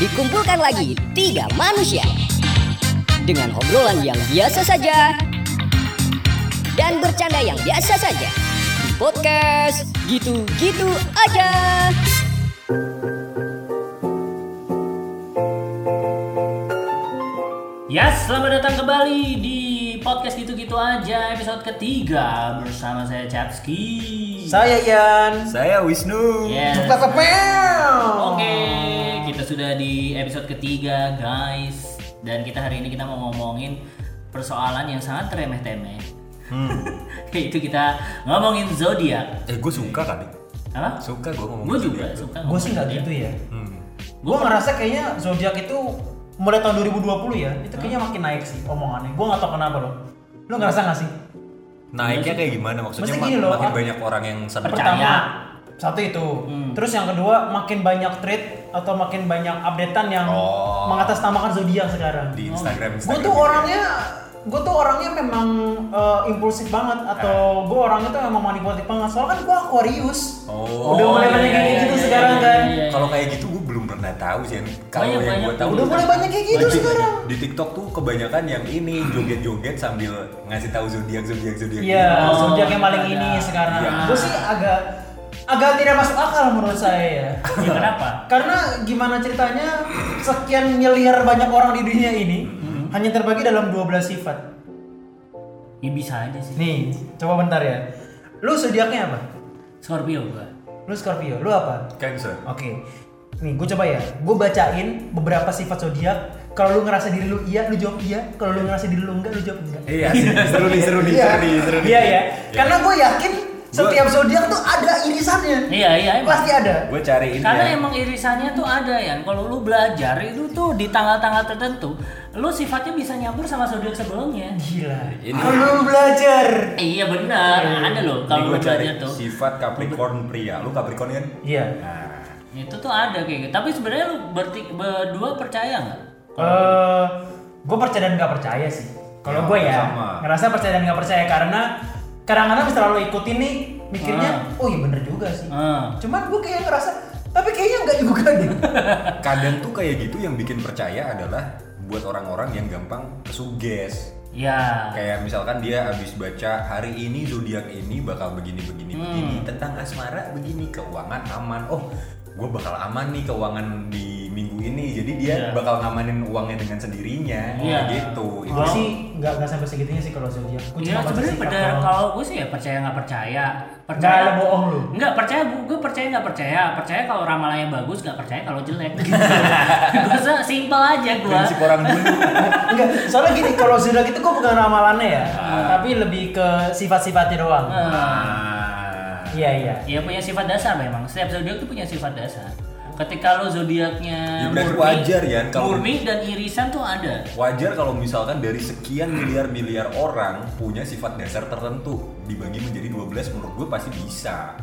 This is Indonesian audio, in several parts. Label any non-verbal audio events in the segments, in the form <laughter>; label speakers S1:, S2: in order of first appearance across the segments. S1: dikumpulkan lagi tiga manusia dengan obrolan yang biasa saja dan bercanda yang biasa saja di podcast gitu-gitu aja.
S2: Ya, selamat datang kembali di podcast gitu-gitu aja episode ketiga bersama saya Chapski.
S3: Saya Yan.
S4: Saya Wisnu.
S2: Yes.
S3: Pepepew.
S2: Oke, kita sudah di episode ketiga, guys. Dan kita hari ini kita mau ngomongin persoalan yang sangat remeh-temeh.
S3: Hmm.
S2: <laughs> Yaitu kita ngomongin zodiak.
S4: Eh, gue suka kali.
S2: Apa?
S4: Suka gue ngomong. gitu.
S2: Gue juga suka.
S3: Gue sih nggak gitu ya.
S4: Hmm.
S3: Gue ngerasa kayaknya zodiak itu mulai tahun 2020 ya, itu kayaknya makin naik sih omongannya. Gue nggak tau kenapa loh. Lo ngerasa nggak sih?
S4: Naiknya kayak gimana maksudnya?
S3: Mesti
S4: mak-
S3: gini loh,
S4: makin
S3: ah.
S4: banyak orang yang seneng.
S2: Percaya.
S3: satu itu. Terus yang kedua, makin banyak tweet atau makin banyak updatean yang
S4: Oh.
S3: mengatasnamakan zodiak sekarang.
S4: di Instagram.
S3: gue
S4: Instagram
S3: tuh
S4: gitu ya.
S3: orangnya gue tuh orangnya memang eh, impulsif banget atau gue orangnya tuh memang manipulatif banget soalnya kan gue Aquarius
S4: Eh. Oh.
S3: udah mulai
S2: iya,
S3: banyak
S2: iya,
S3: kayak gitu
S2: iya,
S3: sekarang
S2: iya,
S3: kan
S2: iya, iya.
S4: Kalau kayak gitu gue belum pernah tahu sih. Yan.
S2: Banyak,
S4: Kalau yang gue
S2: banyak.
S4: tahu
S3: udah mulai banyak kayak gitu
S4: Lagi-
S3: sekarang Hmm.
S4: Di TikTok tuh kebanyakan yang ini joget-joget sambil ngasih tahu zodiak zodiak zodiak.
S3: iya
S2: Oh,
S3: zodiak yang paling
S2: iya.
S3: ini sekarang
S4: Iya.
S3: gue sih agak agak tidak masuk akal menurut saya ya
S2: Ya, kenapa?
S3: karena gimana ceritanya sekian miliar banyak orang di dunia ini hanya terbagi dalam 12 sifat
S2: Ya bisa aja sih.
S3: nih coba bentar ya lu zodiaknya apa
S2: Scorpio gua.
S3: lu Scorpio lu apa
S4: Cancer.
S3: Oke. Nih, gue coba ya. Gue bacain beberapa sifat zodiak. Kalau lu ngerasa diri lu iya, lu jawab iya. Kalau lu ngerasa diri lu enggak, lu jawab enggak.
S4: Iya, sih.
S3: <laughs>
S4: seru nih, seru nih,
S3: Iya.
S4: seru nih, seru nih.
S3: Iya ya. Karena gue yakin setiap zodiak tuh ada irisannya.
S2: Iya, iya. emang.
S3: Pasti ada.
S4: Gue cariin
S2: Karena
S4: ya.
S2: emang irisannya tuh ada ya. Kalau lu belajar itu tuh di tanggal-tanggal tertentu, lu sifatnya bisa nyampur sama zodiak sebelumnya.
S3: Gila.
S4: Ini-
S3: Kalau lu belajar.
S2: Iya benar, ada loh
S4: Ini
S2: kalau lu
S4: gue cari
S2: belajar tuh.
S4: sifat Capricorn pria. Lu Capricorn kan?
S3: Iya.
S4: Nah,
S2: Itu tuh ada kayak gitu. Tapi sebenarnya lu berti- berdua percaya nggak?
S3: Eh, gue percaya dan gak percaya sih. Kalau
S4: Ya,
S3: gue ya,
S4: sama.
S3: ngerasa percaya dan gak percaya karena kadang-kadang bisa terlalu ikutin nih mikirnya, oh iya bener juga sih.
S2: Ah.
S3: Cuman gue kayak ngerasa, tapi kayaknya enggak juga
S2: <laughs>
S3: deh.
S4: kadang tuh kayak gitu yang bikin percaya adalah buat orang-orang yang gampang kesuges
S2: Ya.
S4: kayak misalkan dia habis baca hari ini zodiak ini bakal begini
S2: Hmm.
S4: begini begini tentang asmara begini keuangan aman oh gue bakal aman nih keuangan di minggu ini jadi dia
S2: Iya.
S4: bakal ngamanin uangnya dengan sendirinya
S2: Iya.
S4: gitu itu
S3: Gue sih nggak nggak sampai segitunya sih kalau zodiak. Gue
S2: Ya sebenarnya pada kalau gue sih ya percaya nggak percaya.
S3: percaya
S2: Percaya
S3: bohong lu.
S2: Nggak percaya, gue percaya nggak percaya. Percaya kalau ramalannya bagus, nggak percaya kalau jelek. gue simpel aja gue.
S4: prinsip orang dulu <laughs>
S3: Enggak, soalnya gini kalau zodiak itu gue bukan ramalannya ya,
S2: Ah.
S3: tapi lebih ke sifat-sifatnya doang.
S4: Ah.
S3: Iya iya.
S2: Ya punya sifat dasar memang. Setiap zodiak tuh punya sifat dasar. Ketika lo zodiaknya
S4: Ya, berarti wajar ya, kalau-
S2: murni dan irisan tuh ada.
S4: wajar kalau misalkan dari sekian miliar miliar orang punya sifat dasar tertentu dibagi menjadi 12 menurut gue pasti bisa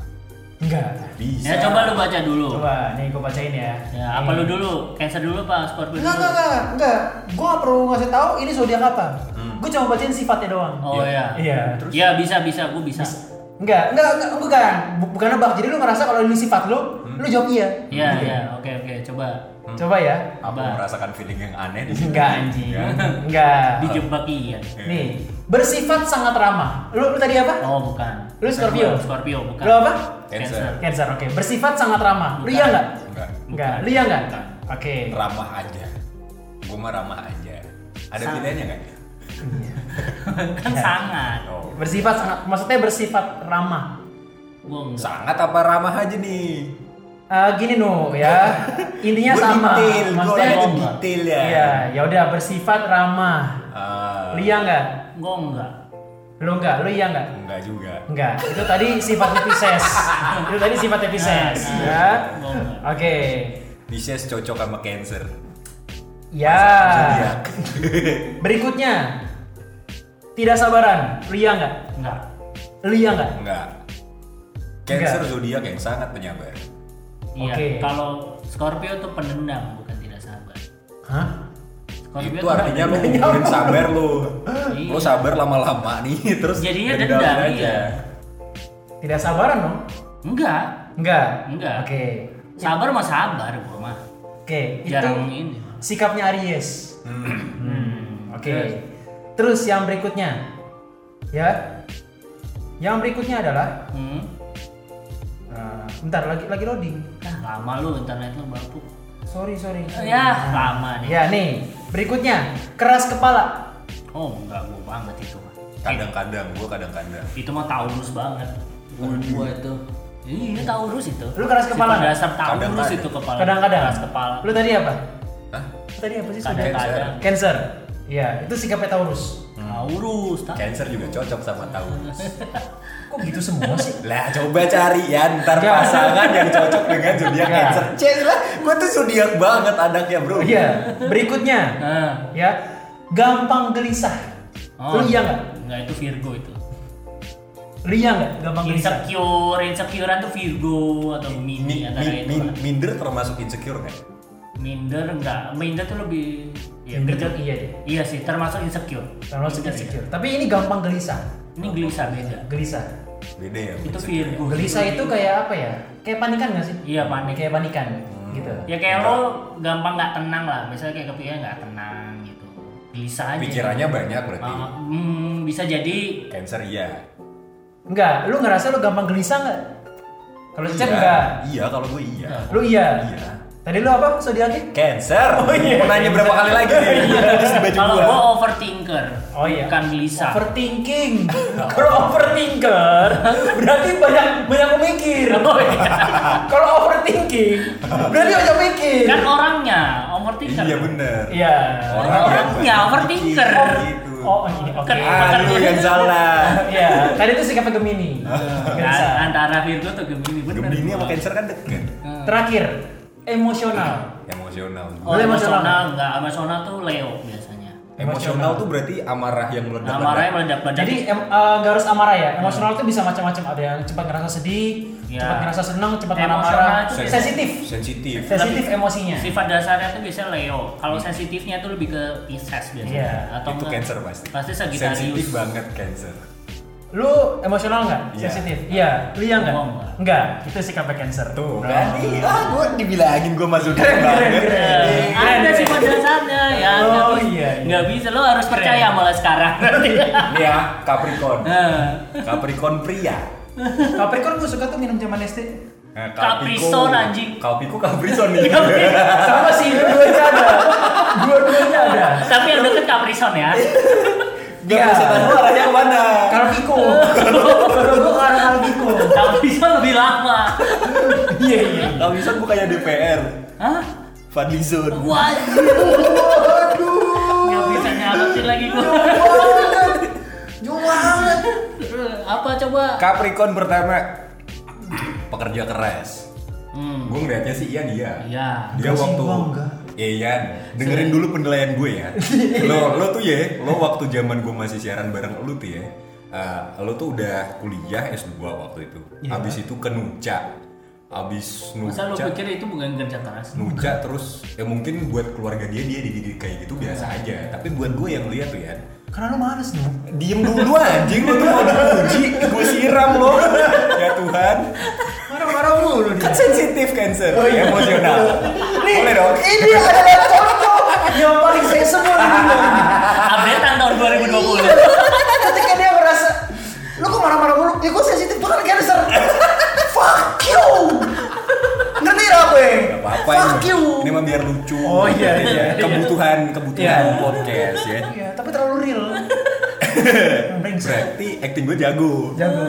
S3: Enggak.
S2: Ya
S4: bisa
S2: coba lu baca dulu.
S3: Coba nih gue bacain ya.
S2: Ya, apa lu dulu? Cancer dulu pak, Scorpio
S3: Enggak
S2: dulu.
S3: enggak enggak enggak. Gue nggak perlu ngasih tahu ini zodiak apa. Gue cuma bacain sifatnya doang.
S2: Oh
S4: Iya.
S2: ya.
S3: Iya.
S2: Ya bisa bisa, gue bisa.
S3: Enggak, enggak, enggak, bukan. Bu- Bukan nebak. Jadi lu ngerasa kalau ini sifat lu, lu jawab iya.
S2: Ya ya, oke oke, coba.
S3: Coba ya.
S4: Aku
S2: Apa?
S4: merasakan feeling yang aneh di sini.
S3: Enggak anjing. Enggak.
S2: Dijebak iya.
S3: Nih, bersifat sangat ramah. Lu, lu tadi apa?
S2: Oh bukan.
S3: Lu Scorpio?
S2: Scorpio bukan.
S3: Lu apa?
S4: Cancer.
S3: Cancer, oke. Bersifat sangat ramah. Lu iya nggak?
S4: Enggak.
S3: Nggak. Lu iya nggak?
S2: Bukan.
S3: Oke.
S4: Ramah aja. Gue mah ramah aja. Ada
S2: Sama.
S4: pilihannya nggak?
S2: kan sangat.
S4: Oh.
S3: Bersifat sangat, maksudnya bersifat ramah.
S2: Gue enggak.
S4: Sangat apa ramah aja nih?
S3: Eh, gini nu ya,
S2: Iya,
S3: intinya
S4: Gua
S3: sama.
S4: Detail, gue
S3: maksudnya,
S4: orangnya tuh
S2: enggak.
S4: detail ya.
S3: iya, ya udah bersifat ramah.
S4: Ah,
S3: Lu iya nggak?
S2: Gue enggak.
S3: Lu nggak? Lu iya nggak?
S4: enggak juga.
S3: Enggak, itu tadi sifatnya Pisces. itu tadi sifatnya Pisces,
S2: Nah,
S3: ya.
S2: Gua enggak.
S3: Oke.
S4: Pisces cocok sama Cancer. Iya.
S3: Ya.
S2: Iya.
S4: Zodiak.
S3: Berikutnya tidak sabaran, Lia nggak?
S2: Enggak.
S3: Lia nggak?
S4: <laughs> enggak. Cancer zodiak yang sangat penyabar.
S2: Iya.
S3: Oke.
S2: Kalau Scorpio tuh pendendam, bukan tidak sabar.
S3: Hah?
S2: Scorpio
S4: itu
S2: tuh
S4: artinya
S2: <laughs>
S4: lu
S2: pendendam.
S4: mungkin sabar lu.
S2: Iya.
S4: lu sabar lama-lama nih <laughs> terus
S2: Jadinya dendam, iya.
S3: Tidak sabaran dong?
S2: Enggak.
S3: Enggak.
S2: Enggak.
S3: Oke.
S2: Sabar mah sabar gue mah.
S3: Oke, itu
S2: jarang ini
S3: sikapnya Aries.
S4: Hmm.
S2: Hmm,
S3: Oke. Terus yang berikutnya. Ya. Yang berikutnya adalah
S2: terus. Hmm.
S3: eh, bentar lagi lagi loading.
S2: Ah, lama lu internet lu bapuk
S3: Sorry, sorry. sorry.
S2: ya lama nih
S3: Ya, nih. Berikutnya, keras kepala.
S2: oh enggak gua banget itu mah
S4: Kadang-kadang, gue kadang-kadang.
S2: itu mah taurus banget bukan gua itu ini taurus itu
S3: Lu keras
S2: Sifat
S3: kepala nggak?
S2: dasar taurus
S4: Kadang-kadang.
S2: itu kepala
S3: Kadang-kadang
S2: keras kepala
S3: Lu tadi apa?
S4: Hah?
S3: Lu tadi apa sih?
S4: Kadang.
S2: kadang-kadang
S3: Cancer. Iya, itu sikapnya Taurus.
S2: taurus taurus
S4: Hmm. Cancer juga cocok sama Taurus.
S3: Kok gitu semua sih?
S4: lah coba cari ya ntar
S3: Jangan.
S4: pasangan yang cocok dengan zodiak
S3: Jangan.
S4: Cancer. Cek lah, gue tuh zodiak banget anaknya bro.
S3: Oh iya, berikutnya
S2: nah
S3: ya gampang gelisah.
S2: Oh.
S3: Lu iya nggak?
S2: Enggak itu Virgo itu.
S3: Lu iya nggak? Gampang gelisah.
S2: Insecure, insecurean tuh Virgo atau Gemini
S4: Mi-
S2: antara
S4: mi-
S2: itu.
S4: mi-
S2: lah.
S4: minder termasuk insecure nggak?
S2: Minder enggak, minder tuh lebih
S3: Minder
S2: kerja-
S3: tuh iya deh.
S2: Iya sih, termasuk insecure.
S3: Terlalu
S2: Minder ya.
S3: insecure. Tapi ini gampang gelisah.
S2: Ini gelisah beda.
S3: Gelisah.
S4: Beda ya.
S2: Itu
S4: insecure.
S2: Virgo.
S3: Gelisah itu kayak apa ya? Kayak panikan nggak sih?
S2: Iya, panik.
S3: Kayak panikan gitu.
S2: Ya kayak lo gampang nggak tenang lah, misalnya kayak kepikiran nggak tenang gitu. Gelisah aja.
S4: Pikirannya banyak berarti.
S2: Ah, hmm, bisa jadi
S4: Cancer iya.
S3: Enggak, lu ngerasa lu gampang gelisah nggak? Kalau
S4: Iya.
S3: Cep enggak.
S4: Iya kalau gue iya.
S3: Lu iya.
S4: Iya.
S3: Tadi lu apa zodiaknya?
S4: Cancer. Oh iya. Mau nanya berapa kali lagi? Terus di baju
S2: kalau
S4: gua.
S2: gue overthinker,
S3: Oh iya.
S2: bukan gelisah. <laughs>
S3: Overthinking. Kalau overthinker berarti banyak banyak mikir.
S2: Oh, iya.
S3: <laughs> Kalau overthinking berarti banyak mikir.
S2: kan orangnya overthinker.
S4: Iya bener.
S3: Iya.
S2: Orangnya,
S4: yang
S2: overthinker.
S4: Gitu.
S3: Oh ini oke.
S2: Kan-
S4: Aduh yang salah.
S3: Iya, tadi itu sikapnya Gemini.
S2: Kan-
S3: Gelisah.
S2: An- antara Virgo atau Gemini bener.
S4: Gemini sama
S2: Gua.
S4: Cancer kan deket.
S2: Hmm.
S3: Terakhir, emosional.
S4: Emosional.
S2: Oh,
S3: Boleh emosional.
S2: emosional enggak? Emosional tuh Leo biasanya.
S4: Emosional tuh berarti amarah yang meledak.
S2: Amarahnya meledak-ledak.
S3: Jadi em, eh, nggak harus amarah ya. Emosional itu bisa macam-macam. Ada yang cepat ngerasa sedih,
S2: Iya.
S3: cepat ngerasa senang, cepat
S2: Emosional
S3: marah-marah.
S2: itu
S4: Sen-
S3: Sensitif.
S4: Sensitif.
S3: Sensitif emosinya.
S2: sifat dasarnya tuh biasanya Leo. Kalau sensitifnya tuh lebih ke Pisces biasanya.
S3: Iya,
S2: atau
S4: Itu
S2: enggak-
S4: Cancer pasti.
S2: Pasti
S4: Sensitif
S2: Sagittarius.
S4: banget Cancer.
S3: Lu emosional nggak?
S4: Iya.
S3: Sensitif. Iya. Lu iya nggak?
S2: Gua nggak.
S3: Nggak. Itu sikapnya cancer.
S2: Oh.
S4: Tuh
S3: Nah.
S4: kan? Ah, gue dibilangin gue masuk
S3: Keren, keren,
S4: banget.
S3: keren.
S2: Eh, Ada sifat dasarnya ya.
S3: Oh,
S2: nggak bisa-
S3: iya, iya.
S2: nggak bisa lo harus percaya malah
S3: <laughs>
S2: sekarang.
S4: Ini ya Capricorn.
S2: Nah,
S4: Capricorn pria.
S3: Capricorn gue suka tuh minum zaman SD.
S4: Eh,
S2: Capricorn, anjing.
S4: Caprico Capricorn nih.
S3: Sama sih, dua-duanya ada. Dua-duanya ada.
S2: Tapi yang deket Capricorn ya.
S4: Gak bisa tahu arahnya kemana.
S3: Kalpiko. Kalau gue ke arah Kalpiko.
S2: Capricorn lebih lama.
S3: Iya, iya.
S4: Capricorn kan bukannya DPR.
S2: Hah?
S4: Fadlizon.
S2: Waduh. Nggak bisa nyamatin lagi gua.
S3: Jauh banget.
S2: Apa coba?
S4: Capricorn pertama pekerja keras.
S2: Hmm.
S4: Gue ngeliatnya sih Ian iya.
S2: Iya.
S4: Dia
S3: Enggak sih,
S4: waktu
S3: gua enggak.
S4: Iya Ian, dengerin dulu penilaian gue
S2: <laughs>
S4: ya.
S2: Iya.
S4: Lo lo tuh ya, lo waktu zaman gue masih siaran bareng lo tuh ya. eh, lo tuh udah kuliah S2 waktu itu. Habis itu ke Nuca. Habis Nuca.
S2: Iya. Masa lu pikir itu bukan kerja keras?
S4: Nuca terus ya mungkin buat keluarga dia dia dididik kayak gitu
S2: Iya.
S4: biasa aja tapi buat gue yang lihat tuh ya
S3: Karena lu males dong.
S4: diem dulu anjing lu tuh mau dipuji gue siram lo ya Tuhan
S3: Marah-marah mulu dia.
S4: kan sensitif cancer
S3: Oh iya.
S4: Ya, emosional boleh dong
S3: Ini adalah contoh yang paling saya sebut di dunia.
S2: Updatean tahun 2020.
S3: Ketika dia merasa lu kok marah-marah mulu? Ya gue sensitif banget cancer. Fuck you. Ngerti gak gue?
S4: Gak apa-apa
S3: Fuck
S4: ini
S3: you.
S4: mah. ini mah biar lucu
S3: Oh, iya, iya, iya.
S4: kebutuhan kebutuhan
S3: Iya.
S4: podcast ya
S3: Iya, tapi terlalu
S4: <laughs>
S3: real. Brengsek.
S4: berarti acting gue jago
S3: Jago.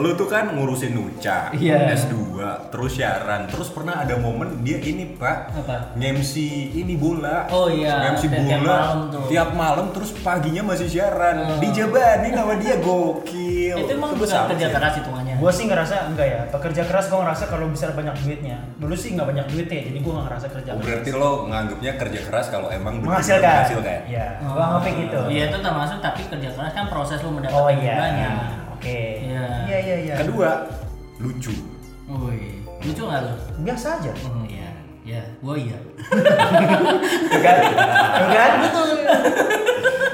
S4: lu tuh kan ngurusin Nuca,
S3: Iya.
S4: S2, terus siaran, terus pernah ada momen dia ini pak,
S2: Apa?
S4: ngemsi ini bola,
S2: Oh iya,
S4: ngemsi
S2: tiap- tiap
S4: bola,
S2: malam tuh. Ah.
S4: tiap malam terus paginya masih siaran, dijabanin sama dia gokil.
S2: Itu emang
S4: Itu
S2: bukan
S4: sama
S2: kerja
S4: sih.
S2: keras hitungannya.
S3: Gue sih ngerasa enggak ya, pekerja keras gue ngerasa kalau bisa banyak duitnya Dulu sih nggak banyak duitnya, jadi gue nggak ngerasa kerja
S2: kan?
S4: Oh,
S3: keras
S4: berarti kan? lo nganggapnya kerja keras kalau emang bener-bener
S3: Menghasilkan
S4: menghasilkan.
S3: Iya, gue ngapain gitu
S2: Iya itu termasuk tapi kerja keras kan proses lu mendapatkan
S3: Oh iya,
S2: bunganya.
S3: oke
S2: Iya.
S3: Iya, iya, iya
S4: Kedua, lucu.
S2: Woi, lucu nggak lu?
S3: Biasa aja
S2: Oh iya, iya, gua iya.
S3: Tuh kan? Tuh kan? Betul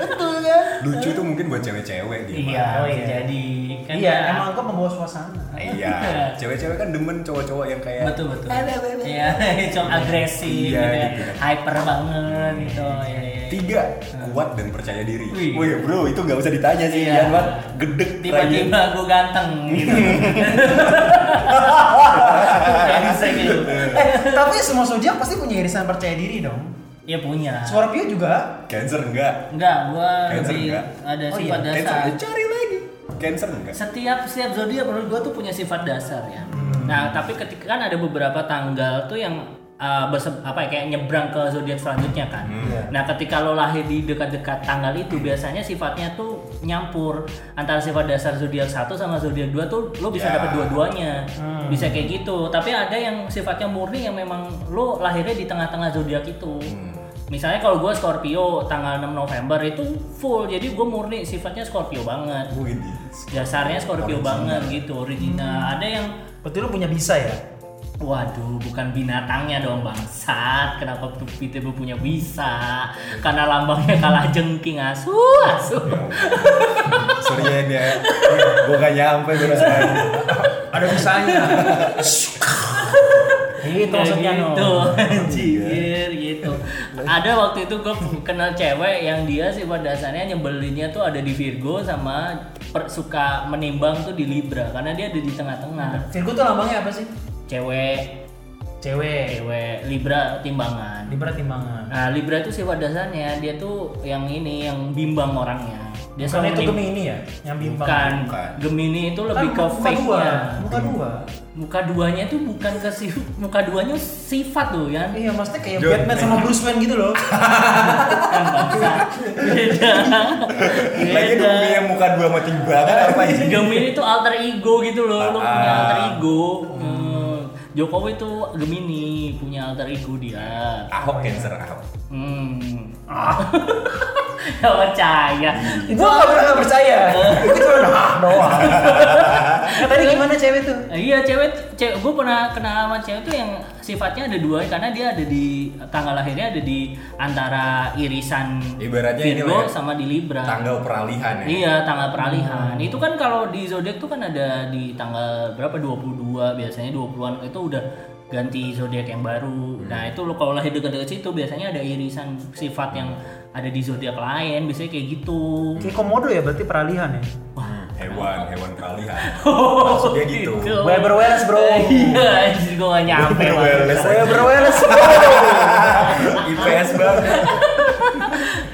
S3: Betul kan?
S4: Lucu tuh mungkin buat cewek-cewek dia. Pak.
S2: iya,
S3: Oh, iya.
S2: jadi kan
S3: Iya,
S2: ya-
S3: emang gue membawa suasana
S2: <laughs>
S4: Iya. Cewek-cewek kan demen cowok-cowok yang kayak
S2: betul betul.
S3: Lelelele.
S2: Iya, <laughs> cok agresif,
S4: Iya,
S2: gitu ya.
S4: gitu.
S2: hyper banget gitu. Iya, iya.
S4: Tiga, kuat dan percaya diri.
S2: Wih.
S4: Wih, bro, itu nggak usah ditanya sih,
S2: Iya.
S4: jangan banget gedek lagi.
S2: Tiba-tiba gue ganteng gitu. Kayak bisa gitu.
S3: eh, tapi semua zodiak pasti punya irisan percaya diri dong.
S2: Ya punya.
S3: Scorpio juga.
S4: Cancer enggak?
S2: Enggak, gua
S4: Cancer
S2: lebih
S4: enggak?
S2: ada
S3: Oh,
S2: sifat
S3: iya.
S2: dasar.
S4: Cancer, cari lagi. Cancer enggak?
S2: Setiap setiap zodiak menurut gua tuh punya sifat dasar ya. Nah, tapi ketika kan ada beberapa tanggal tuh yang uh, berse- apa ya kayak nyebrang ke zodiak selanjutnya kan.
S3: Iya.
S2: Nah, ketika lo lahir di dekat-dekat tanggal itu biasanya sifatnya tuh nyampur antara sifat dasar zodiak satu sama zodiak 2 tuh lo bisa
S4: Ya.
S2: dapet dua-duanya. Bisa kayak gitu. Tapi ada yang sifatnya murni yang memang lo lahirnya di tengah-tengah zodiak itu. Misalnya kalau gua Scorpio tanggal 6 November itu full, jadi gue murni sifatnya Scorpio banget
S4: Wih, di
S2: dasarnya Scorpio banget gitu original ada yang
S3: Berarti lu punya bisa ya?
S2: waduh bukan binatangnya dong bangsat kenapa tuh tiba punya bisa karena lambangnya kalah jengking asu asu
S3: Iya.
S4: Sorry ya dia, gue gak nyampe berasaan.
S3: Ada bisanya. itu maksudnya no. Iya.
S2: gitu anjir gitu ada waktu itu gue kenal cewek yang dia sih pada dasarnya nyebelinnya tuh ada di Virgo sama per- suka menimbang tuh di Libra karena dia ada di tengah-tengah
S3: Virgo tuh lambangnya apa sih?
S2: cewek
S3: Cewek.
S2: cewek Libra timbangan
S3: Libra timbangan.
S2: Nah, Libra itu sifat dasarnya dia tuh yang ini yang bimbang orangnya. Dia
S3: Bukan itu
S2: menim-
S3: Gemini ya? Yang bimbang.
S2: Bukan.
S4: Bukan.
S2: Gemini itu
S3: Kan
S2: lebih ke
S3: muka dua.
S2: fake-nya.
S3: Muka dua.
S2: Muka duanya itu bukan ke sif- muka duanya sifat tuh ya.
S3: Iya, maksudnya kayak
S4: John.
S3: Batman sama Bruce Wayne gitu loh.
S2: Bangsa. Beda.
S4: Lagi
S2: Beda.
S4: demi yang muka dua mati banget apa ini?
S2: Gemini itu alter ego gitu loh. Lu punya
S4: Ah.
S2: alter ego. Hmm. Jokowi itu Gemini punya alter ego dia.
S4: Ahok cancer Ahok.
S2: Hmm.
S3: Ah.
S2: <laughs> Gak percaya.
S4: Hmm.
S3: Gua gak pernah gak percaya. Itu cuma nah <laughs> doang. Tadi gimana cewek tuh?
S2: Nah, Iya cewek, cewek gue pernah kenal sama cewek tuh yang sifatnya ada dua karena dia ada di tanggal lahirnya ada di antara irisan
S4: Ibaratnya ini
S2: Virgo
S4: lah ya.
S2: sama di Libra.
S4: Tanggal Hmm. peralihan ya.
S2: Iya, tanggal peralihan. Itu kan kalau di zodiak tuh kan ada di tanggal berapa 22 biasanya 20-an itu udah ganti zodiak yang baru.
S4: Hmm.
S2: Nah, itu lo kalau lahir dekat-dekat situ biasanya ada irisan sifat yang ada di zodiak lain, biasanya kayak gitu.
S3: Kayak komodo ya berarti peralihan ya.
S4: Hmm, Hewan, hewan
S2: <laughs>
S4: peralihan.
S2: Oh,
S4: Maksudnya gitu. <laughs>
S3: Weber Welles bro.
S2: Iya, anjir gue gak nyampe.
S4: Weber Welles.
S2: Bang.
S3: Weber Welles bro.
S4: Ah, IPS banget.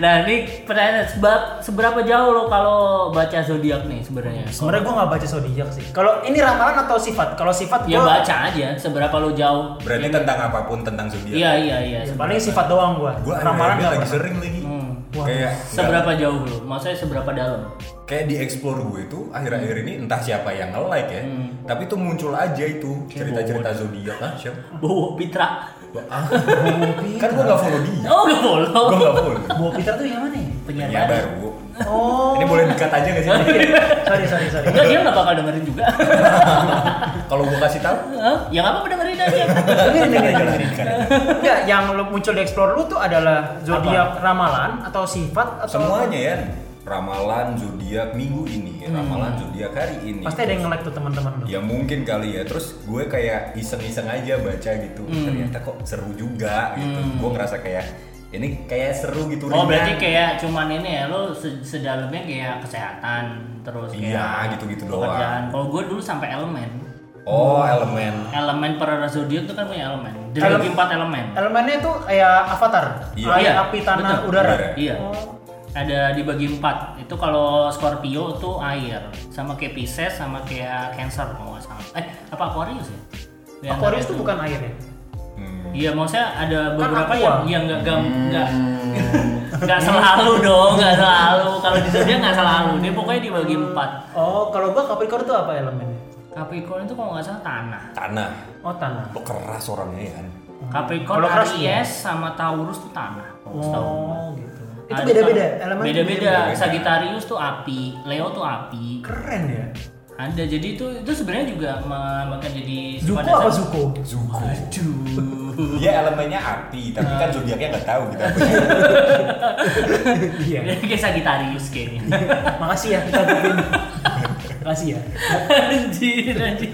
S2: Nah, ini pertanyaan sebab seberapa jauh lo kalau baca zodiak nih sebenarnya?
S3: Sebenarnya gua gak baca zodiak sih. Kalau ini ramalan atau sifat? Kalau sifat
S2: Ya
S3: gua
S2: baca aja seberapa lo jauh.
S4: Berarti tentang apapun tentang zodiak.
S2: Iya, iya, iya.
S3: Ya,
S2: seberapa-
S3: paling sifat doang gua.
S4: Gue
S3: ramalan
S4: ramalan
S3: gak
S4: lagi
S3: pernah.
S4: sering lagi.
S2: Hmm.
S3: Wah.
S4: Kayak
S2: Seberapa jauh lo? Maksudnya seberapa dalam?
S4: kayak di explore gue itu akhir-akhir ini entah siapa yang nge-like ya. Tapi tuh muncul aja itu cerita-cerita zodiak kan siapa?
S2: Bowo Pitra.
S4: Ah, kan gue gak follow dia.
S2: <laughs> Oh, gak
S4: Gue
S2: boleh.
S4: gak follow.
S3: Bawa Peter tuh yang mana ya?
S2: Penyiar
S4: Ya
S2: Iya, baru.
S4: baru.
S3: Oh.
S4: Ini boleh dikat aja gak sih?
S3: Iya. <laughs> sorry sorry sorry.
S2: Enggak, dia gak bakal dengerin juga.
S4: Kalau gue kasih tahu,
S2: Hah? ya gak apa-apa dengerin aja.
S3: Dengerin, dengerin,
S4: jangan
S3: dengerin.
S4: dikat.
S3: Enggak, yang lu muncul di explore lu tuh adalah zodiak ramalan atau sifat atau
S4: Semuanya ya. Ramalan zodiak minggu ini, ramalan zodiak hari ini.
S3: Pasti ada yang nge-like tuh teman-teman lu.
S4: Ya mungkin kali ya. Terus gue kayak iseng-iseng aja baca gitu. Ternyata kok seru juga gitu. Gue ngerasa kayak ini kayak seru gitu.
S2: Oh,
S4: ringan.
S2: berarti kayak cuman ini ya lo se- sedalamnya kayak kesehatan terus kayak
S4: Iya, gitu-gitu doang.
S2: pekerjaan. Kalau gue dulu sampai elemen.
S4: Oh elemen.
S2: elemen per zodiak itu kan punya elemen. Dari
S3: Elemen.
S2: empat elemen.
S3: Elemennya tuh kayak avatar.
S4: Iya.
S3: Air,
S2: Iya,
S3: api, tanah,
S2: betul.
S3: udara.
S4: Udara.
S2: Iya.
S3: Oh.
S2: Ada dibagi empat. Itu kalau Scorpio itu air, sama kayak Pisces, sama kayak Cancer kalau nggak salah. Eh, apa Aquarius ya? Di antara
S3: Oh. Aquarius
S2: itu.
S3: tuh bukan air ya?
S4: Hmm.
S2: Iya, maksudnya ada beberapa
S3: aqua.
S2: yang yang nggak gam nggak <laughs> nggak selalu dong, nggak selalu. Kalau di zodiak nggak selalu. Dia pokoknya dibagi empat.
S3: Oh, kalau gua Capricorn tuh apa elemennya?
S2: Capricorn itu kalau nggak salah tanah.
S4: Tanah.
S3: Oh, tanah.
S4: Lo keras orangnya ya.
S2: Capricorn,
S3: Kalau keras
S2: Aries, sama Taurus itu tanah. kalau setahu gua.
S3: Oh, gitu. Itu
S2: Ada
S3: beda-beda
S2: kan?
S3: elemen.
S2: Beda-beda.
S4: beda-beda.
S2: Sagittarius tuh api, Leo tuh api.
S3: Keren ya.
S2: Ada jadi itu itu sebenarnya juga memakan jadi
S3: Zuko
S2: sifat
S3: apa
S2: dasar-
S3: Zuko? <laughs>
S4: Zuko.
S2: Aduh.
S4: Dia elemennya api, tapi kan zodiaknya nggak tahu gitu. apa.
S3: Iya.
S4: Iya.
S2: <laughs> Iya. Kayak Sagittarius kayaknya.
S3: Makasih ya kita bikin. Rahasia.
S2: <laughs> anjir anjir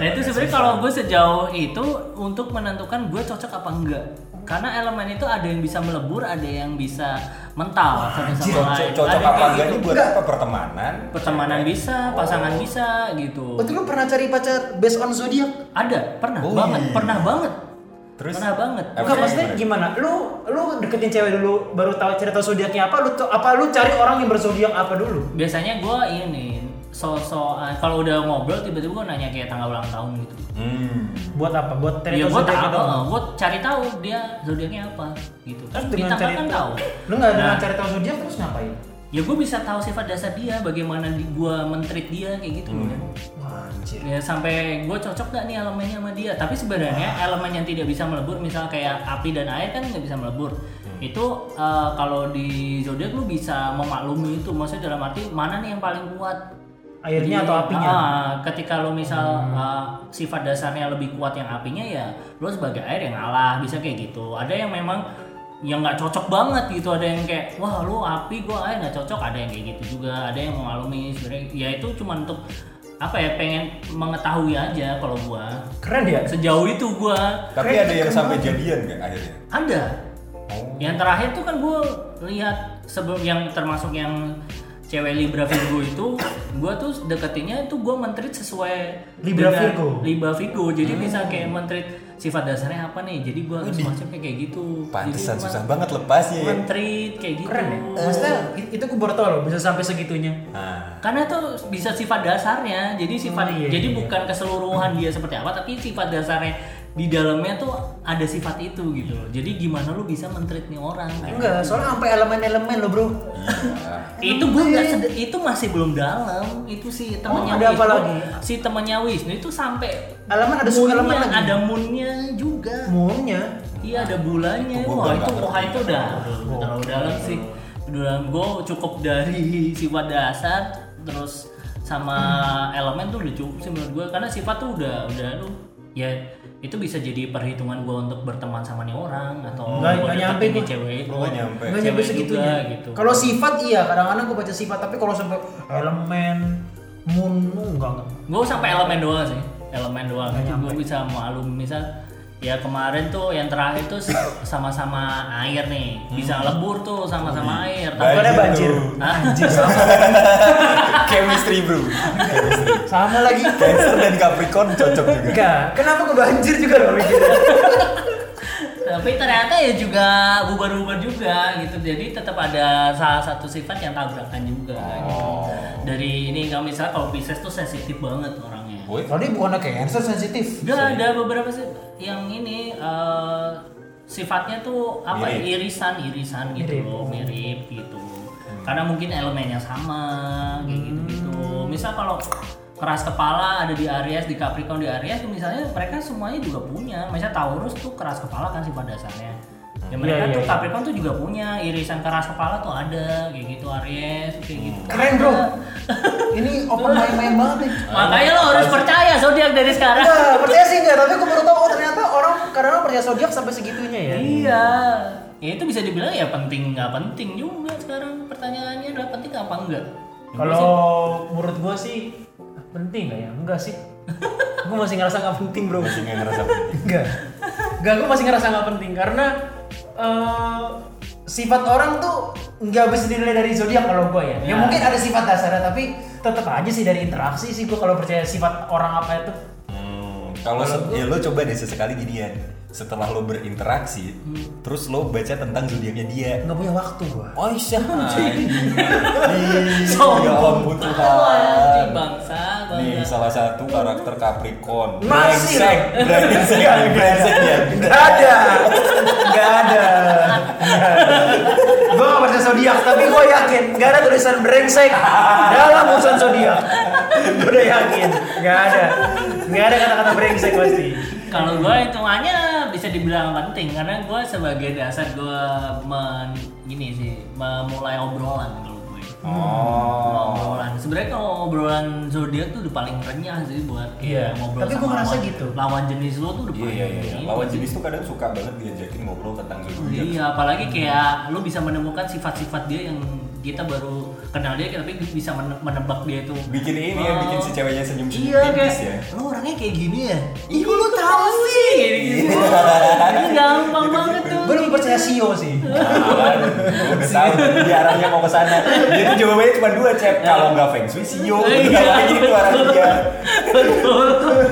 S2: nah itu sebenarnya kalau gue sejauh itu untuk menentukan gue cocok apa enggak karena elemen itu ada yang bisa melebur ada yang bisa mental satu
S4: Co-
S2: sama
S4: co-
S2: lain
S4: cocok
S2: Ada yang
S4: apa
S2: kayak
S4: enggak
S2: gitu.
S4: ini buat apa pertemanan
S2: pertemanan bisa pasangan bisa gitu
S3: Waktu lu pernah cari pacar based on zodiak?
S2: ada pernah
S4: Oh,
S2: banget
S4: iya.
S2: pernah banget
S4: Terus?
S2: pernah banget
S4: Apa
S3: Enggak
S4: sih?
S3: maksudnya gimana? Lu lu deketin cewek dulu baru tahu cerita zodiaknya apa? Lu tuh- apa lu cari orang yang berzodiak apa dulu?
S2: biasanya gue ini so-so eh, kalau udah ngobrol tiba-tiba gue nanya kayak tanggal ulang tahun gitu
S4: hmm.
S3: Buat apa? Buat cari
S2: ya
S3: tahu
S2: gue
S3: zodiaknya
S2: tahu
S3: doang?
S2: gue cari tahu dia zodiaknya apa gitu
S3: Terus
S2: kan di
S3: dengan
S2: tanggal
S3: cari
S2: kan
S3: tahu.
S2: tahu
S3: Lu enggak dengan
S2: Nah.
S3: cari tahu zodiak terus ngapain?
S2: ya gue bisa tahu sifat dasar dia bagaimana di, gue mentreat dia kayak gitu kan
S3: Wah, Anjir.
S2: ya sampai gue cocok gak nih elemennya sama dia tapi sebenarnya elemen yang tidak bisa melebur misal kayak api dan air kan nggak bisa melebur itu eh, kalau di zodiak lu bisa memaklumi itu maksudnya dalam arti mana nih yang paling kuat
S3: Airnya
S2: Jadi,
S3: atau apinya? Hmm.
S2: ah, ketika lo misal ah, sifat dasarnya lebih kuat yang apinya ya lo sebagai air yang ngalah bisa kayak gitu ada yang memang yang nggak cocok banget gitu ada yang kayak wah lo api gua air nggak cocok ada yang kayak gitu juga ada yang mengalami sebenarnya ya itu cuma untuk apa ya pengen mengetahui aja kalau gua
S3: Keren ya?
S2: sejauh itu gua
S4: tapi
S3: Keren,
S4: ada yang
S3: keren
S4: sampai
S3: banget.
S4: jadian kan akhirnya
S2: ada
S4: oh.
S2: yang terakhir tuh kan gue lihat sebelum yang termasuk yang cewek Libra Virgo itu gue tuh deketinnya itu gue mentreat sesuai
S3: Libra
S2: dengan
S3: Virgo. Hmm.
S2: Libra Virgo jadi bisa kayak mentreat sifat dasarnya apa nih jadi gue harus
S4: Widih.
S2: masuknya kayak gitu
S4: pantesan
S2: Jadi
S4: susah
S2: men-
S4: banget lepasnya ya
S2: mentreat kayak gitu
S3: Keren ya? Maksudnya i- itu gue baru tau loh bisa sampai segitunya.
S2: Ah.
S4: nah
S2: karena itu bisa sifat dasarnya jadi sifat
S3: Oh, iya,
S2: jadi
S3: iya.
S2: bukan keseluruhan dia seperti apa tapi sifat dasarnya di dalamnya tuh ada sifat itu gitu loh jadi gimana lu bisa mentreat nih orang
S4: Nah,
S2: kayak
S3: Enggak, soalnya sampai elemen-elemen loh bro.
S4: iya
S2: itu gue nggak sed- itu masih belum dalam itu si temennya
S3: Oh, ada apa
S2: Wisnu-
S3: lagi?
S2: si temennya Wisnu itu sampai
S3: Elemen ada suku elemen
S2: moonnya,
S3: lagi.
S2: ada moonnya juga
S3: Moonnya.
S2: iya ada bulannya
S4: Itu gua
S2: wah
S4: nggak
S2: itu
S4: ngerti.
S2: wah itu udah udah terlalu dalam sih dalam gue cukup dari <laughs> sifat dasar terus sama elemen tuh udah cukup sih menurut gue karena sifat tuh udah udah aduh ya itu bisa jadi perhitungan gue untuk berteman sama nih orang atau gua
S3: Nggak- nggak
S2: deketin
S3: nyampe
S2: nih
S3: gua.
S2: cewek
S4: Lu nggak nyampe.
S3: Nggak nyampe
S2: Cewek
S3: segitunya.
S2: juga, gitu.
S3: Kalau sifat iya, kadang-kadang gue baca sifat, tapi kalau sampai elemen moon enggak enggak.
S2: gue sampai elemen doang sih elemen doang
S3: Nggak
S2: itu
S3: nyampe.
S2: gue bisa maklum misal ya kemarin tuh yang terakhir tuh s- sama-sama air nih
S3: Hmm.
S2: bisa lebur tuh sama-sama air tapi ah,
S3: Tanggalnya banjir.
S4: lu.
S3: Anjir sama.
S4: chemistry bro chemistry
S3: sama
S2: <laughs>
S3: lagi.
S4: Cancer dan Capricorn cocok juga
S3: Enggak, kenapa kudu anjir juga loh mikirnya?
S2: <laughs> tapi ternyata ya juga bubar-bubar juga gitu jadi tetap ada salah satu sifat yang tabrakan juga gitu.
S3: Oh.
S2: dari ini kalau misalnya kalau Pisces tuh sensitif banget orangnya
S4: Boy,
S3: Kalau dia bukan cancer sensitif.
S2: Udah ada beberapa sih yang ini eh, sifatnya tuh apa ya,
S4: Mirip.
S2: irisan irisan gitu
S3: Mirip.
S2: loh mirip gitu karena mungkin elemennya sama kayak gitu
S3: Hmm.
S2: gitu misal kalau keras kepala ada di Aries di Capricorn di Aries tuh misalnya mereka semuanya juga punya misalnya Taurus tuh keras kepala kan sifat dasarnya ya mereka
S3: iya,
S2: tuh
S3: iya.
S2: Capricorn tuh juga punya irisan keras kepala tuh ada kayak gitu Aries kayak gitu
S3: Keren <laughs> bro. Ini open mind-mind banget nih.
S2: makanya lo harus percaya zodiak dari sekarang
S3: Enggak, percaya sih enggak, tapi gue baru tau oh ternyata orang kadang-kadang percaya zodiak sampai segitunya ya.
S2: Iya. Ya itu bisa dibilang ya penting nggak penting juga sekarang pertanyaannya adalah penting apa enggak. Ya,
S3: Kalau menurut gue sih ah, penting nggak ya? Enggak <laughs> sih. gue masih ngerasa nggak penting bro.
S4: masih nggak ngerasa penting.
S3: Enggak. Enggak, gue masih ngerasa nggak penting karena eh, sifat orang tuh nggak bisa dinilai dari zodiak kalau gue ya.
S2: Ya.
S3: Ya mungkin ada sifat dasarnya tapi tetap aja sih dari interaksi sih gue kalau percaya sifat orang apa itu.
S4: Hmm, kalau se- ya lo coba deh sesekali ginian setelah lo berinteraksi
S3: Hmm.
S4: terus lo baca tentang zodiaknya dia
S3: Nggak punya waktu gue.
S4: Oh iya, <laughs> Ih,
S2: Sombong.
S4: ya ampun
S2: Anjing,
S4: Tuhan.
S2: bangsa,
S4: Nih
S2: bangsa.
S4: salah satu karakter Capricorn.
S3: Masih.
S4: Brengsek, brengsek, brengsek
S2: <laughs>
S4: ya.
S3: Gak ada, gak ada. Gue gak percaya zodiak, tapi gue yakin gak ada tulisan brengsek dalam urusan zodiak. Gue udah yakin, gak ada, gak ada kata-kata brengsek pasti.
S2: Kalau gue hitungannya bisa dibilang penting karena gue sebagai dasar gue men gini sih memulai obrolan kalau gue.
S4: Oh.
S2: Obrolan. Sebenarnya kalau obrolan zodiak tuh udah paling renyah sih buat
S3: Iya.
S2: kayak ngobrol
S3: Tapi
S2: sama
S3: gue ngerasa
S2: lawan-
S3: gitu.
S2: Lawan jenis lo tuh udah
S4: Iya
S2: paling
S4: iya iya.
S2: ini
S4: Lawan
S2: sih.
S4: jenis tuh kadang suka banget diajakin ngobrol tentang zodiak.
S2: Iya, apalagi kayak lu bisa menemukan sifat-sifat dia yang kita baru kenal dia tapi bisa mene- menebak dia tuh
S4: bikin ini ya, bikin si ceweknya senyum senyum
S2: Oh. Iya kayak
S4: ya.
S2: lu orangnya kayak gini ya? Iya lu tahu sih. Gitu.
S4: Iya.
S2: Itu gampang banget tuh.
S3: Gue lebih percaya Sio sih.
S4: Gue udah tahu dia arahnya mau ke sana. Dia tuh jawabannya cuma dua cep. Kalau nggak feng shui sih yo.
S2: Iya.
S4: Kalau kayak gitu arahnya dia.
S2: Betul.
S4: Oh,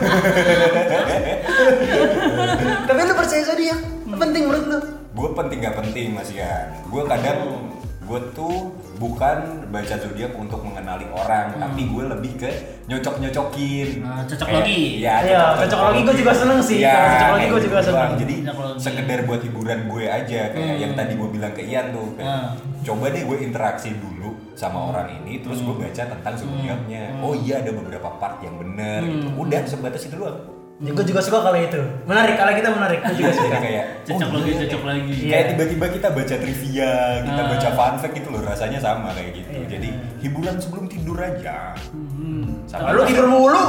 S3: Tapi lu percaya zodiak? Penting menurut lu?
S4: Gue penting nggak penting mas ya. Gue kadang gue tuh bukan baca zodiak untuk mengenali orang, tapi gue lebih ke nyocok-nyocokin.
S2: Hmm. Ah, cocok
S4: Kayak-
S2: logi.
S4: Iya,
S3: Iya, cocok logi gue juga seneng sih.
S4: Iya,
S3: Kalau cocok logi
S4: kayak
S3: gue juga
S4: gitu
S3: seneng.
S4: doang. Jadi
S2: Cocok logi.
S4: sekedar buat hiburan gue aja kayak yang tadi gue bilang ke Ian tuh. kayak,
S2: Hmm.
S4: Coba deh gue interaksi dulu sama orang ini terus
S2: Hmm.
S4: gue baca tentang zodiaknya. Oh iya ada beberapa part yang bener gitu.
S2: Hmm.
S4: Udah sebatas itu doang.
S3: Gue juga suka kalau itu. Menarik, kalau kita menarik.
S2: Iya.
S3: Gue juga
S4: <laughs> Jadi
S3: suka.
S4: kayak
S2: Cocok
S4: oh,
S2: lagi,
S4: iya.
S2: cocok lagi.
S4: Kayak tiba-tiba kita baca trivia, kita
S2: Ah.
S4: baca fun fact gitu loh rasanya sama kayak gitu.
S3: Iya.
S4: Jadi hiburan sebelum tidur aja.
S2: Hmm.
S4: Sama
S3: Lu tidur mulu.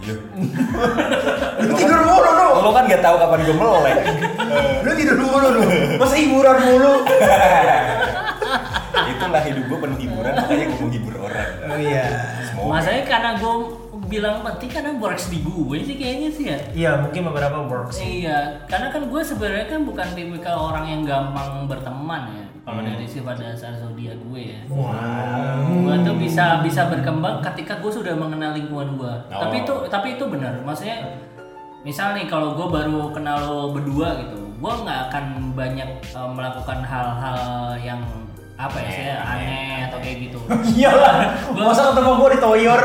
S4: Iya.
S3: Lu tidur mulu lu.
S4: Lo kan gak tahu kapan gue melek. <laughs>
S3: Lu tidur mulu lu. Masa hiburan mulu.
S4: Itulah hidup gue penuh hiburan, makanya gue menghibur orang.
S3: Oh iya.
S4: Semoga.
S2: Masanya karena gue bilang penting karena boreks di gue sih kayaknya sih ya.
S3: Iya, mungkin beberapa works.
S2: Iya, karena kan gue sebenarnya kan bukan tipikal orang yang gampang berteman ya.
S4: Hmm.
S2: Kalau dari sifat dasar zodiak gue ya. Gue tuh bisa bisa berkembang ketika gue sudah mengenal lingkungan gue.
S4: Oh.
S2: Tapi itu tapi itu benar. Maksudnya misal nih kalau gue baru kenal lo berdua gitu, gue nggak akan banyak eh, melakukan hal-hal yang apa ya, saya aneh atau kayak gitu.
S3: Iya, Iyalah.
S2: <laughs>
S3: Masa ketemu gue di Toyor.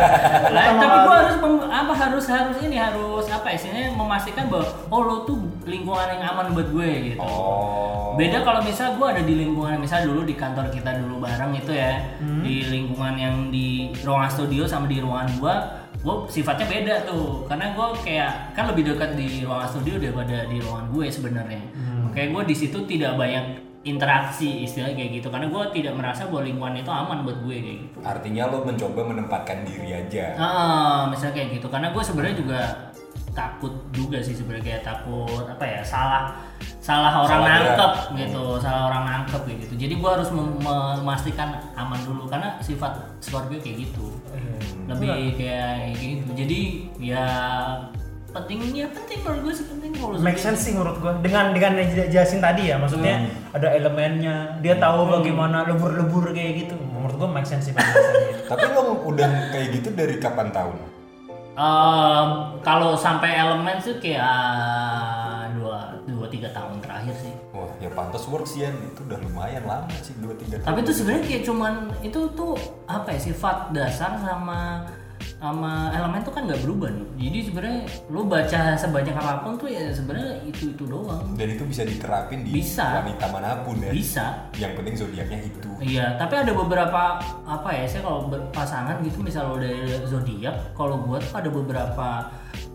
S3: <laughs>
S2: Lah,
S3: Ketemu
S2: tapi gue
S3: Aldi.
S2: harus mem- apa harus harus ini harus apa istilahnya memastikan bahwa oh lo tuh lingkungan yang aman buat gue gitu.
S4: Oh.
S2: Beda kalau misal gue ada di lingkungan misal dulu di kantor kita dulu bareng itu ya di lingkungan yang di ruangan studio sama di ruangan gue gue sifatnya beda tuh karena gue kayak kan lebih dekat di ruangan studio daripada di ruangan gue sebenarnya. Makanya gue di situ tidak banyak interaksi istilahnya kayak gitu karena gue tidak merasa bahwa lingkungan itu aman buat gue kayak gitu.
S4: Artinya lo mencoba menempatkan diri aja.
S2: Ah, misalnya kayak gitu. Karena gue sebenarnya juga takut juga sih sebenarnya kayak takut apa ya salah salah orang
S4: Salah
S2: nangkep
S4: gerak.
S2: gitu, salah orang nangkep kayak gitu. Jadi gue harus mem- memastikan aman dulu karena sifat Scorpio kayak gitu. Lebih kayak kayak gitu. Jadi ya pentingnya penting menurut gue sih penting kalau
S3: Make sense sih menurut gue dengan dengan yang dia jelasin tadi ya maksudnya
S2: Hmm.
S3: ada elemennya dia tahu bagaimana lebur-lebur kayak gitu menurut gue make sense sih penjelasannya.
S4: Tapi lo udah kayak gitu dari kapan tahun?
S2: Ehm, kalau sampai elemen sih kayak ah, dua dua tiga tahun terakhir sih.
S4: Wah, ya pantas works ya. Itu udah lumayan lama sih, 2 3 tahun.
S2: tapi itu sebenarnya kayak cuman itu tuh apa ya sifat dasar sama sama elemen tuh kan nggak berubah nih jadi sebenarnya lu baca sebanyak apapun tuh ya sebenarnya itu itu doang
S4: dan itu bisa diterapin di
S2: Bisa.
S4: wanita manapun ya.
S2: bisa
S4: Yang penting zodiaknya itu.
S2: iya tapi ada beberapa apa ya saya kalau berpasangan gitu misal lo dari zodiak kalau gua tuh ada beberapa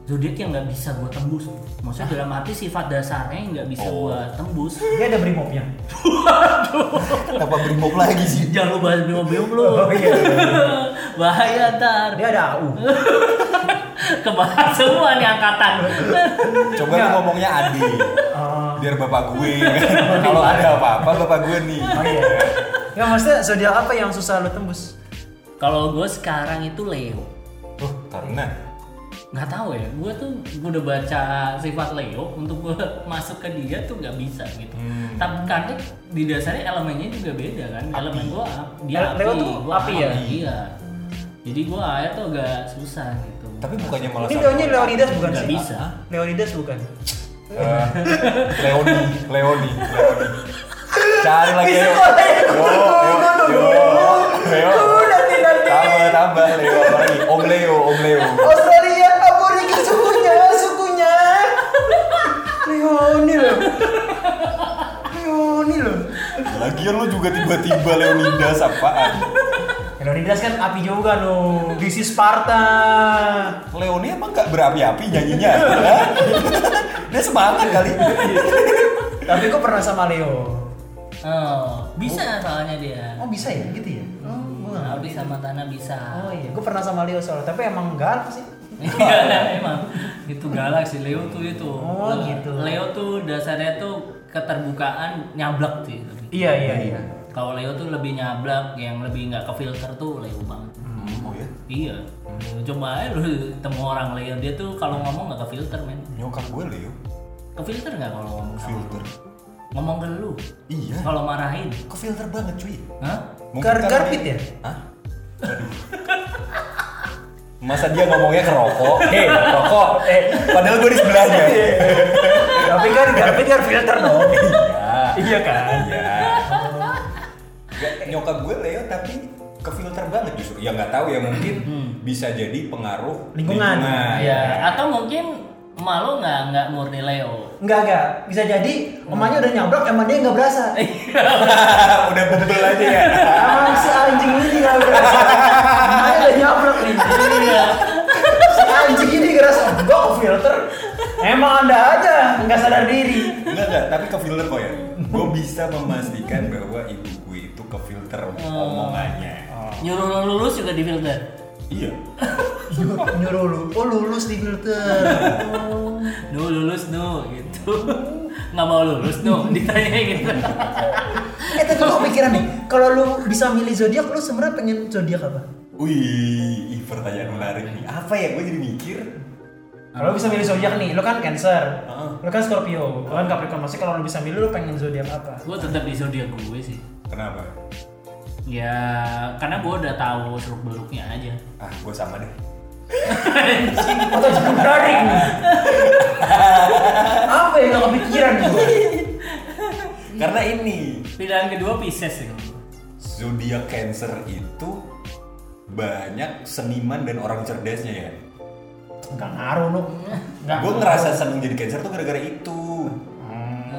S2: zodiak yang nggak bisa gua tembus maksudnya dalam arti sifat dasarnya yang nggak bisa
S4: Oh.
S2: gua tembus
S3: Dia ada brimobnya.
S4: Kenapa brimob lagi sih?
S2: jangan lu bahas bingung-bingung lu <laughs> bahaya ntar
S3: Dia ada
S2: <laughs>
S3: AU.
S2: kebahas semua nih angkatan <laughs>
S4: Coba lu ngomongnya Adi.
S3: Oh.
S4: Biar bapak gue. Kalau ada apa-apa bapak gue nih.
S3: Oh iya. Nggak maksudnya zodiak apa yang susah lu tembus?
S2: kalau gue sekarang itu Leo
S4: Tuh, karena
S2: nggak tahu ya gue tuh gua udah baca sifat Leo untuk gue <laughs> masuk ke dia tuh nggak bisa gitu
S4: Hmm.
S2: tapi karena di dasarnya elemennya juga beda kan elemen gue dia
S3: Ele- Leo tuh
S2: gua
S3: api ya?
S2: iya jadi gue air tuh agak susah gitu
S4: tapi bukannya malah
S3: Ini Leonya Leonidas bukan
S2: nggak
S3: sih?
S2: bisa
S3: Leonidas bukan.
S4: Eh, Leoni, Leoni, Leoni. Cari lagi.
S3: Bisa
S4: Leo.
S3: kok, Leo.
S4: Yo, yo, yo. Leo.
S3: nanti nanti.
S4: Tambah, tambah Leo apa lagi? Om Leo, Om Leo.
S3: Australia, Amerika sukunya, sukunya. Leoni loh. Leoni loh.
S4: Lagian lu juga tiba-tiba Leonidas apaan?
S3: Leonidas kan api juga loh. This is Sparta.
S4: Leoni emang nggak berapi-api nyanyinya? Hah? Dia semangat kali.
S3: Tapi kok pernah sama Leo?
S2: oh, bisa soalnya dia
S3: Oh bisa ya gitu ya? Oh, gua nggak
S2: habis sama tanah bisa
S3: Oh iya, gue pernah sama Leo soalnya, tapi emang galak sih.
S2: Iya emang itu galak sih Leo tuh itu.
S3: Oh, gitu.
S2: Leo tuh dasarnya tuh keterbukaan nyablak sih.
S3: Iya iya iya.
S2: Kalau Leo tuh lebih nyablak, yang lebih nggak kefilter tuh Leo banget.
S4: Hmm, oh ya?
S2: Iya. Coba aja lu temu orang Leo, dia tuh kalau ngomong nggak kefilter men.
S4: Nyokap gue Leo,
S2: Kefilter nggak kalau ngomong sama lu?
S4: filter.
S2: Ngomong ke lu.
S4: Iya.
S2: Kalau marahin,
S4: Kok filter banget cuy?
S2: hah?
S4: Mungkin
S3: Gar
S4: karena-
S3: garpit ya?
S4: Hah? Aduh. Masa dia ngomongnya ke rokok? Hei, rokok. Eh, padahal gue di sebelahnya.
S3: Iya. Tapi kan garpit kan filter dong. iya kan?
S4: Iya. Nggak, Nyokap gue Leo tapi ke filter banget justru. Ya nggak tahu ya mungkin bisa jadi pengaruh
S3: Hmm. Lingkungan.
S4: Iya.
S2: Ya. Atau mungkin malu nggak nggak murni Leo.
S3: Enggak enggak, bisa jadi emaknya udah nyablak emang dia nggak berasa.
S4: <laughs> Udah bebel aja ya.
S3: Emang si anjing ini nggak berasa. Emaknya udah nyablak nih.
S2: Iya.
S3: Si anjing ini ngerasa gua ke filter. Emang anda aja nggak sadar diri.
S4: Enggak enggak, tapi ke filter kok ya. Gue bisa memastikan bahwa ibu gue itu ke filter omongannya.
S2: Nyuruh lu lulus juga di filter.
S4: Iya.
S3: Nyuruh lu, oh lulus di filter.
S2: Nu lulus nu gitu. <laughs> Nggak mau lulus nu <laughs> ditanya gitu.
S3: Eh tapi gue pikiran nih, kalau lu bisa milih zodiak, lu sebenarnya pengen zodiak apa?
S4: Wih, ih, pertanyaan menarik nih. Apa ya gue jadi mikir?
S3: Kalau lu bisa milih zodiak nih, lu kan Cancer,
S4: Heeh.
S3: lu kan Scorpio, lu kan Capricorn. Maksudnya kalau lu bisa milih, lu pengen zodiak apa?
S2: gue tetap di zodiak gue sih.
S4: Kenapa?
S2: Ya karena gue udah tahu seluk beluknya aja.
S4: Ah, gue sama deh.
S3: Atau cukup berani <laughs> nih? apa yang gak kepikiran gue?
S4: Karena ini
S2: Pilihan kedua Pisces sih. kalau gua.
S4: zodiak Cancer itu banyak seniman dan orang cerdasnya ya.
S3: Gak ngaruh lu. Gak.
S4: Gue ngerasa seneng jadi Cancer tuh gara-gara itu.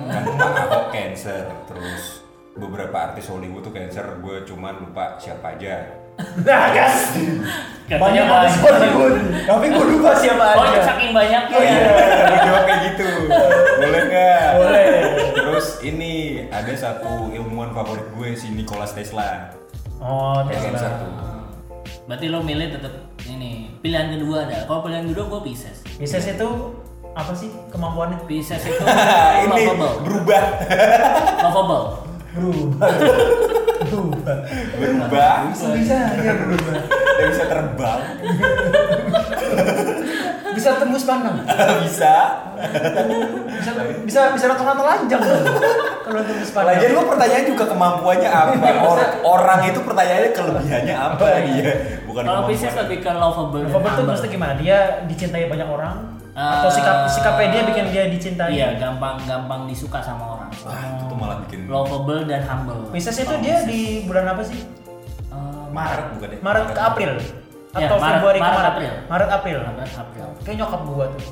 S4: Kan Bang Ahok Cancer, terus beberapa artis Hollywood tuh Cancer. Gue cuman lupa siapa aja.
S3: Nah, gas.
S2: Katanya
S3: Banyak banget
S2: banyak.
S3: Hollywood. Tapi gue lupa siapa
S2: Oh itu
S3: aja.
S2: saking banyak
S4: Oh iya, lu jawab kayak gitu. Boleh nggak?
S3: Boleh.
S4: Terus ini ada satu ilmuwan favorit gue si Nikola Tesla.
S3: Oh,
S4: Kayak Cancer
S3: Tesla.
S4: tuh.
S2: Berarti lo milih tetap ini pilihan kedua ada. Kalau pilihan kedua gue Pisces.
S3: Pisces itu apa sih kemampuannya?
S2: Pisces
S4: <laughs>
S2: itu
S4: Ah, ini
S2: lovable.
S4: berubah,
S2: Lovable.
S3: Berubah. Berubah.
S4: berubah.
S3: Oh, Bisa Iya, aja berubah.
S4: Dan bisa terbang, <laughs>
S3: Bisa tembus pandang.
S4: bisa.
S3: bisa bisa bisa rata-rata lanjang kalau untuk
S4: Lah,
S3: Spanyol
S4: jadi lo pertanyaan juga kemampuannya apa? Or- orang itu pertanyaannya kelebihannya apa dia? Iya. Bukan
S2: Kalau
S4: kemampuan.
S2: Pisces lebih ke lovable. dan
S3: Robert tuh
S2: humble.
S3: maksudnya gimana dia dicintai banyak orang atau
S2: Eh,
S3: sikap sikapnya dia bikin dia dicintai
S2: Iya, gampang-gampang disuka sama orang.
S4: Wah, itu tuh malah bikin
S2: Lovable dan humble.
S3: Pisces itu dia di bulan apa sih
S2: Eh,
S4: Maret bukan ya?
S3: Maret ke April
S2: Iya,
S3: atau
S2: Maret-
S3: Februari ke
S2: Maret,
S3: Maret
S2: April.
S3: Maret April
S2: Maret, April.
S3: kayak nyokap gua tuh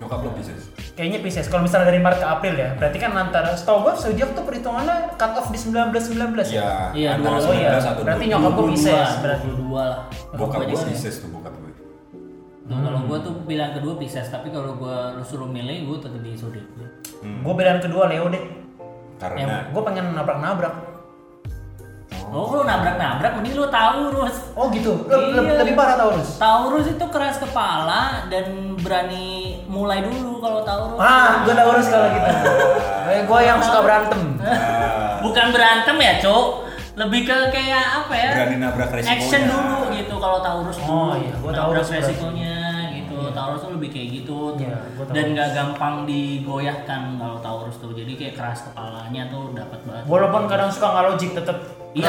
S4: Nyokap lo Pisces.
S3: kayaknya Pisces kalau misalnya dari Maret ke April ya berarti kan antara setahu gua zodiak tuh perhitungannya cut off di 19 19 ya
S4: Iya.
S2: Iya,
S4: antara
S2: dua-
S3: oh iya.
S4: 19 atau
S3: Berarti
S4: 20.
S3: nyokap gua Pisces, berarti.
S2: berarti dua lah.
S4: Bokap
S2: Gua
S4: gue
S2: aja sih.
S4: Pisces tuh bokap gue.
S2: Tuh,
S3: Hmm.
S2: Kalau gue tuh pilihan kedua Pisces, tapi kalau gue lu suruh milih gue tetap di zodiak gue.
S3: gua pilihan kedua Leo deh
S4: Karena
S3: gua pengen nabrak-nabrak
S2: Oh, lu nabrak-nabrak, mending lu Taurus.
S3: oh gitu Le- le-
S2: Iya.
S3: lebih parah Taurus
S2: Taurus itu keras kepala dan berani mulai dulu kalau Taurus.
S3: Ah, gue Taurus kalau gitu. Kayak gue yang suka berantem.
S4: ah,
S2: Bukan berantem ya, Cok. Lebih ke kayak apa ya?
S4: berani nabrak resikonya.
S2: action dulu gitu kalau Taurus dulu
S3: Oh, iya. Gua
S2: Nabrak
S3: Taurus berarti.
S2: resikonya gitu Taurus tuh lebih kayak gitu tuh.
S3: Iya, gua Taurus.
S2: dan gak gampang digoyahkan kalau Taurus tuh jadi kayak keras kepalanya tuh dapat banget
S3: Walaupun kadang suka nggak logik tetep.
S2: iya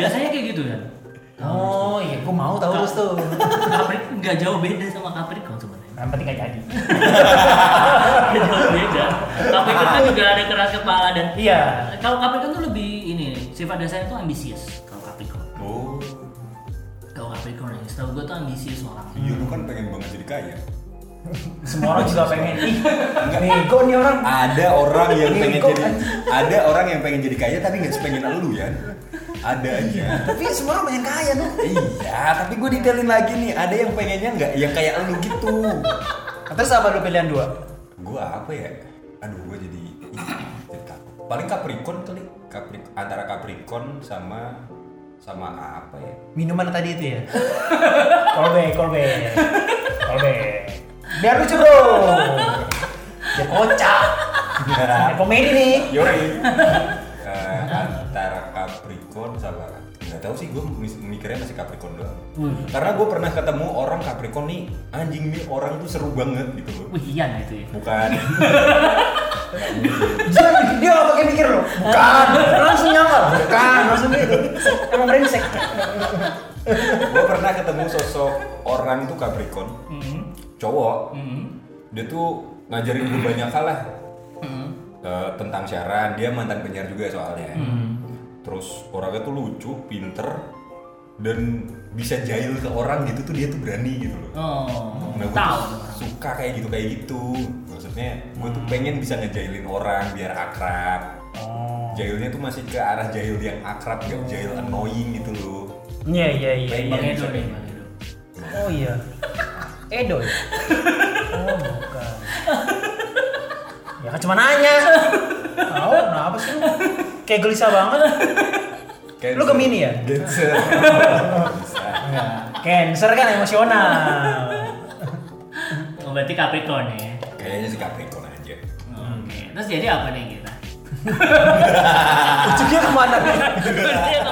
S2: biasanya kayak gitu ya
S3: Oh iya, gue mau Taurus tuh.
S2: Capri nggak jauh beda sama Capricorn
S3: <laughs>
S2: sebenarnya
S3: Yang penting gak jadi.
S2: Nggak jauh beda Capricorn kan juga ada keras kepala dan
S3: Iya.
S2: kalau Capricorn tuh lebih ini sifat dasarnya tuh ambisius kalau Capricorn
S4: Oh,
S2: kalau Capricorn yang setahu gue tuh ambisius orang
S4: iya lu kan pengen banget jadi kaya.
S3: Semua orang juga pengen. Ih, nego nih orang.
S4: Ada orang yang
S3: Ini
S4: pengen
S3: kok-
S4: jadi ada orang yang pengen jadi kaya tapi nggak sepengen lu ya. Ada aja.
S3: Tapi semua orang pengen kaya kan? tuh.
S4: iya, tapi gue detailin lagi nih. Ada yang pengennya nggak yang kayak lu gitu.
S3: Terus apa lu pilihan dua?
S4: Gue apa ya? Aduh, gue jadi jadi takut. Paling Capricorn kali. Capri antara Capricorn sama sama apa ya?
S3: Minuman tadi itu ya. <laughs> Kolbe, kolbe, kolbe. Biar lucu bro. Ya kocak. Ya komedi nih.
S4: Yori. <laughs> Eh, an- antara Capricorn sama nggak tahu sih gue mikirnya masih Capricorn doang karena gue pernah ketemu orang Capricorn nih anjing nih orang tuh seru banget gitu loh
S2: Wih, Ian itu ya.
S4: bukan <laughs>
S3: Dia, dia gak pakai mikir loh. Bukan. Langsung nyangkal. Bukan. Langsung gitu. Emang brengsek.
S4: gue pernah ketemu sosok orang tuh Capricorn cowok dia tuh ngajarin gue banyak hal lah Eh, tentang siaran dia mantan penyiar juga soalnya terus orangnya tuh lucu pinter dan bisa jahil ke orang gitu tuh dia tuh berani gitu loh
S2: Oh,
S4: Nah, gua
S2: tahu.
S4: tuh suka kayak gitu kayak gitu maksudnya gue tuh pengen bisa ngejailin orang biar akrab
S5: Oh.
S4: jahilnya tuh masih ke arah jahil yang akrab gak jahil annoying gitu loh
S5: Iya iya iya.
S4: Baik.
S2: Bang
S4: Iya,
S2: Edo
S4: bisa.
S2: nih, Bang Edo.
S5: Oh iya. Edo ya. Oh <laughs> bukan. Ya kan cuma nanya. Tahu kenapa sih lu? Kayak gelisah banget.
S4: Kayak
S5: Lu Gemini ya?
S4: Cancer. <laughs> Bisa.
S5: Cancer kan emosional.
S2: Oh, berarti Capricorn ya.
S4: Kayaknya sih Capricorn aja.
S2: Oke. Terus jadi apa nih kita?
S5: Ujungnya kemana?
S2: Berarti yang